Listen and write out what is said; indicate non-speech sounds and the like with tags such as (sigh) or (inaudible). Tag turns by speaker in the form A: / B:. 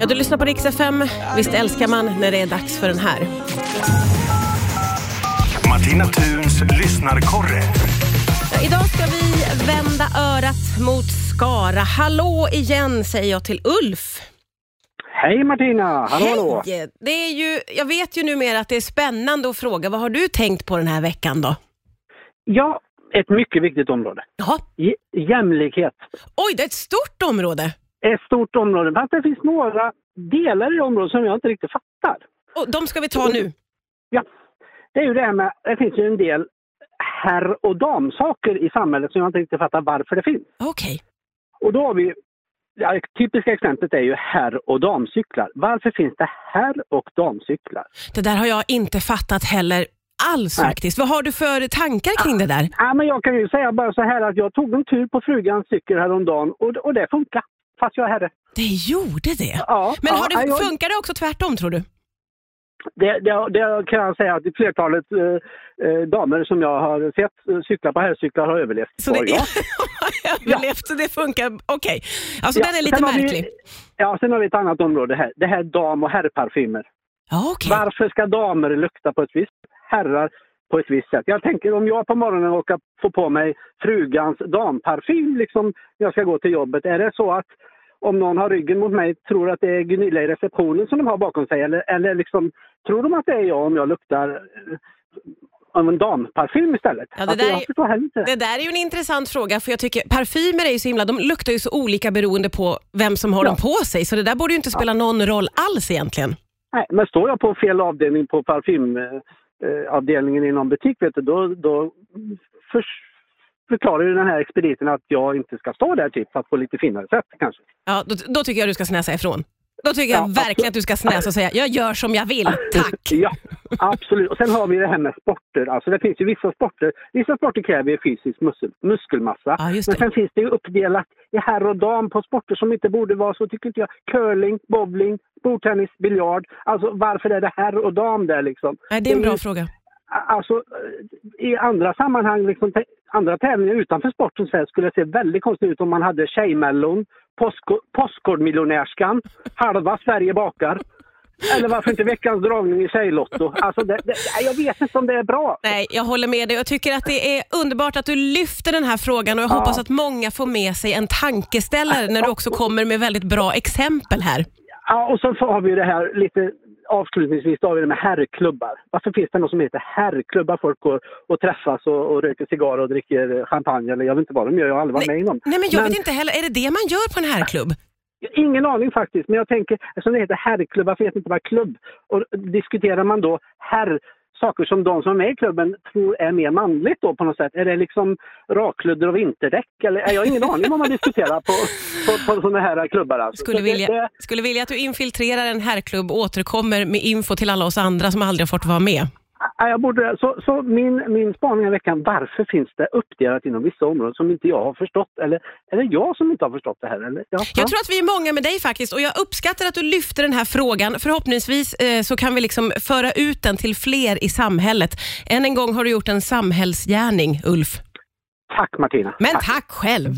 A: Ja, du lyssnar på Rix FM. Visst älskar man när det är dags för den här?
B: Martina Thuns lyssnarkorre.
A: Ja, idag ska vi vända örat mot Skara. Hallå igen säger jag till Ulf.
C: Hej Martina! Hallå hallå!
A: Hej! Det är ju, jag vet ju numera att det är spännande att fråga, vad har du tänkt på den här veckan då?
C: Ja, ett mycket viktigt område.
A: Jaha.
C: J- jämlikhet.
A: Oj, det är ett stort område.
C: Ett stort område, men det finns några delar i det området som jag inte riktigt fattar.
A: Och de ska vi ta nu.
C: Ja, det är ju det här med, det finns ju en del herr och damsaker i samhället som jag inte riktigt fattar varför det finns.
A: Okej.
C: Och då har vi, ja, det typiska exemplet är ju herr och damcyklar. Varför finns det herr och damcyklar?
A: Det där har jag inte fattat heller alls
C: Nej.
A: faktiskt. Vad har du för tankar kring det där?
C: Ja, men jag kan ju säga bara så här att jag tog en tur på frugans cykel häromdagen och, och det funkar. Fast jag är herre.
A: Det gjorde det.
C: Ja,
A: Men
C: ja,
A: har
C: ja,
A: det,
C: jag-
A: funkar det också tvärtom tror du?
C: Det, det, det kan jag säga att i flertalet eh, eh, damer som jag har sett eh, cykla på herrcyklar har överlevt.
A: Så det
C: Har jag.
A: är (laughs) överlevt, så det funkar. Okej, alltså
C: Ja,
A: den är lite
C: sen har vi-
A: märklig.
C: Ja, sen har vi ett annat område här. Det här dam och herrparfymer.
A: Ja, okej.
C: Varför ska damer lukta på ett visst sätt? Herrar på ett visst sätt. Jag tänker om jag på morgonen råkar få på mig frugans damparfym liksom när jag ska gå till jobbet. Är det så att om någon har ryggen mot mig tror att det är Gunilla i receptionen som de har bakom sig eller, eller liksom tror de att det är jag om jag luktar eh, av en damparfym istället?
A: Ja, det
C: Alltså,
A: där
C: jag
A: är-
C: förstår heller inte.
A: Det där är ju en intressant fråga, för jag tycker parfymer är ju så himla, de luktar ju så olika beroende på vem som har
C: Ja.
A: dem på sig, så det där borde ju inte spela någon roll alls egentligen.
C: Nej, men står jag på fel avdelning på parfymavdelningen i någon butik, vet du, då, då förs- förklarar ju den här expediten att jag inte ska stå där typ, fast på lite finare sätt kanske.
A: Ja, då, då tycker jag du ska snäsa ifrån. Då tycker
C: Ja,
A: jag
C: absolut.
A: verkligen att du ska snäsa och säga, jag gör som jag vill, tack.
C: Ja, absolut. Och sen har vi det här med sporter. Alltså det finns ju vissa sporter. Vissa sporter kräver ju fysisk muskel, muskelmassa.
A: Ja, just
C: men
A: det.
C: sen finns det ju uppdelat i herr och dam på sporter som inte borde vara så, tycker inte jag. Curling, bowling, bordtennis, biljard. Alltså varför är det herr och dam där liksom?
A: Nej, det är en
C: ju-
A: bra fråga.
C: Alltså, eh, i andra sammanhang, liksom, tä- andra tävlingar utanför sporten så här, skulle det se väldigt konstigt ut om man hade Tjejmellon, Postko- Postkodmiljonärskan, Halva Sverige bakar. Eller varför inte veckans dragning i Tjejlotto? Alltså, det, det, nej, jag vet inte om det är bra.
A: Nej, jag håller med dig. Jag tycker att det är underbart att du lyfter den här frågan och jag hoppas att många får med sig en tankeställare
C: (laughs)
A: när du också kommer med väldigt bra exempel här.
C: Ja, och så får- har vi ju det här lite avslutningsvis, då har vi det med herrklubbar. Varför finns det något som heter herrklubbar? Folk går och träffas och, och röker cigarr och dricker champagne eller jag vet inte vad de gör, jag har aldrig varit med i någon.
A: Nej, men jag vet inte heller, är det det man gör på en herrklubb?
C: Ingen aning faktiskt, men jag tänker, eftersom det heter herrklubb, varför heter det inte bara klubb? Och diskuterar man då herr, saker som de som är med i klubben tror är mer manligt då på något sätt? Är det liksom rakludder och vinterdäck? Eller, jag har ingen aning vad man diskuterar på, på, på sådana här klubbar. Alltså.
A: Skulle
C: Så det- det-
A: vilja, skulle vilja att du infiltrerar en herrklubb och återkommer med info till alla oss andra som aldrig har fått vara med.
C: Ja, jag borde, så så min, min spaning i veckan, varför finns det uppdelat inom vissa områden som inte jag har förstått? Eller är det jag som inte har förstått det här? Eller? Ja, ja.
A: Jag tror att vi är många med dig faktiskt och jag uppskattar att du lyfter den här frågan. Förhoppningsvis eh, så kan vi liksom föra ut den till fler i samhället. Än en gång har du gjort en samhällsgärning, Ulf.
C: Tack Martina!
A: Men tack själv!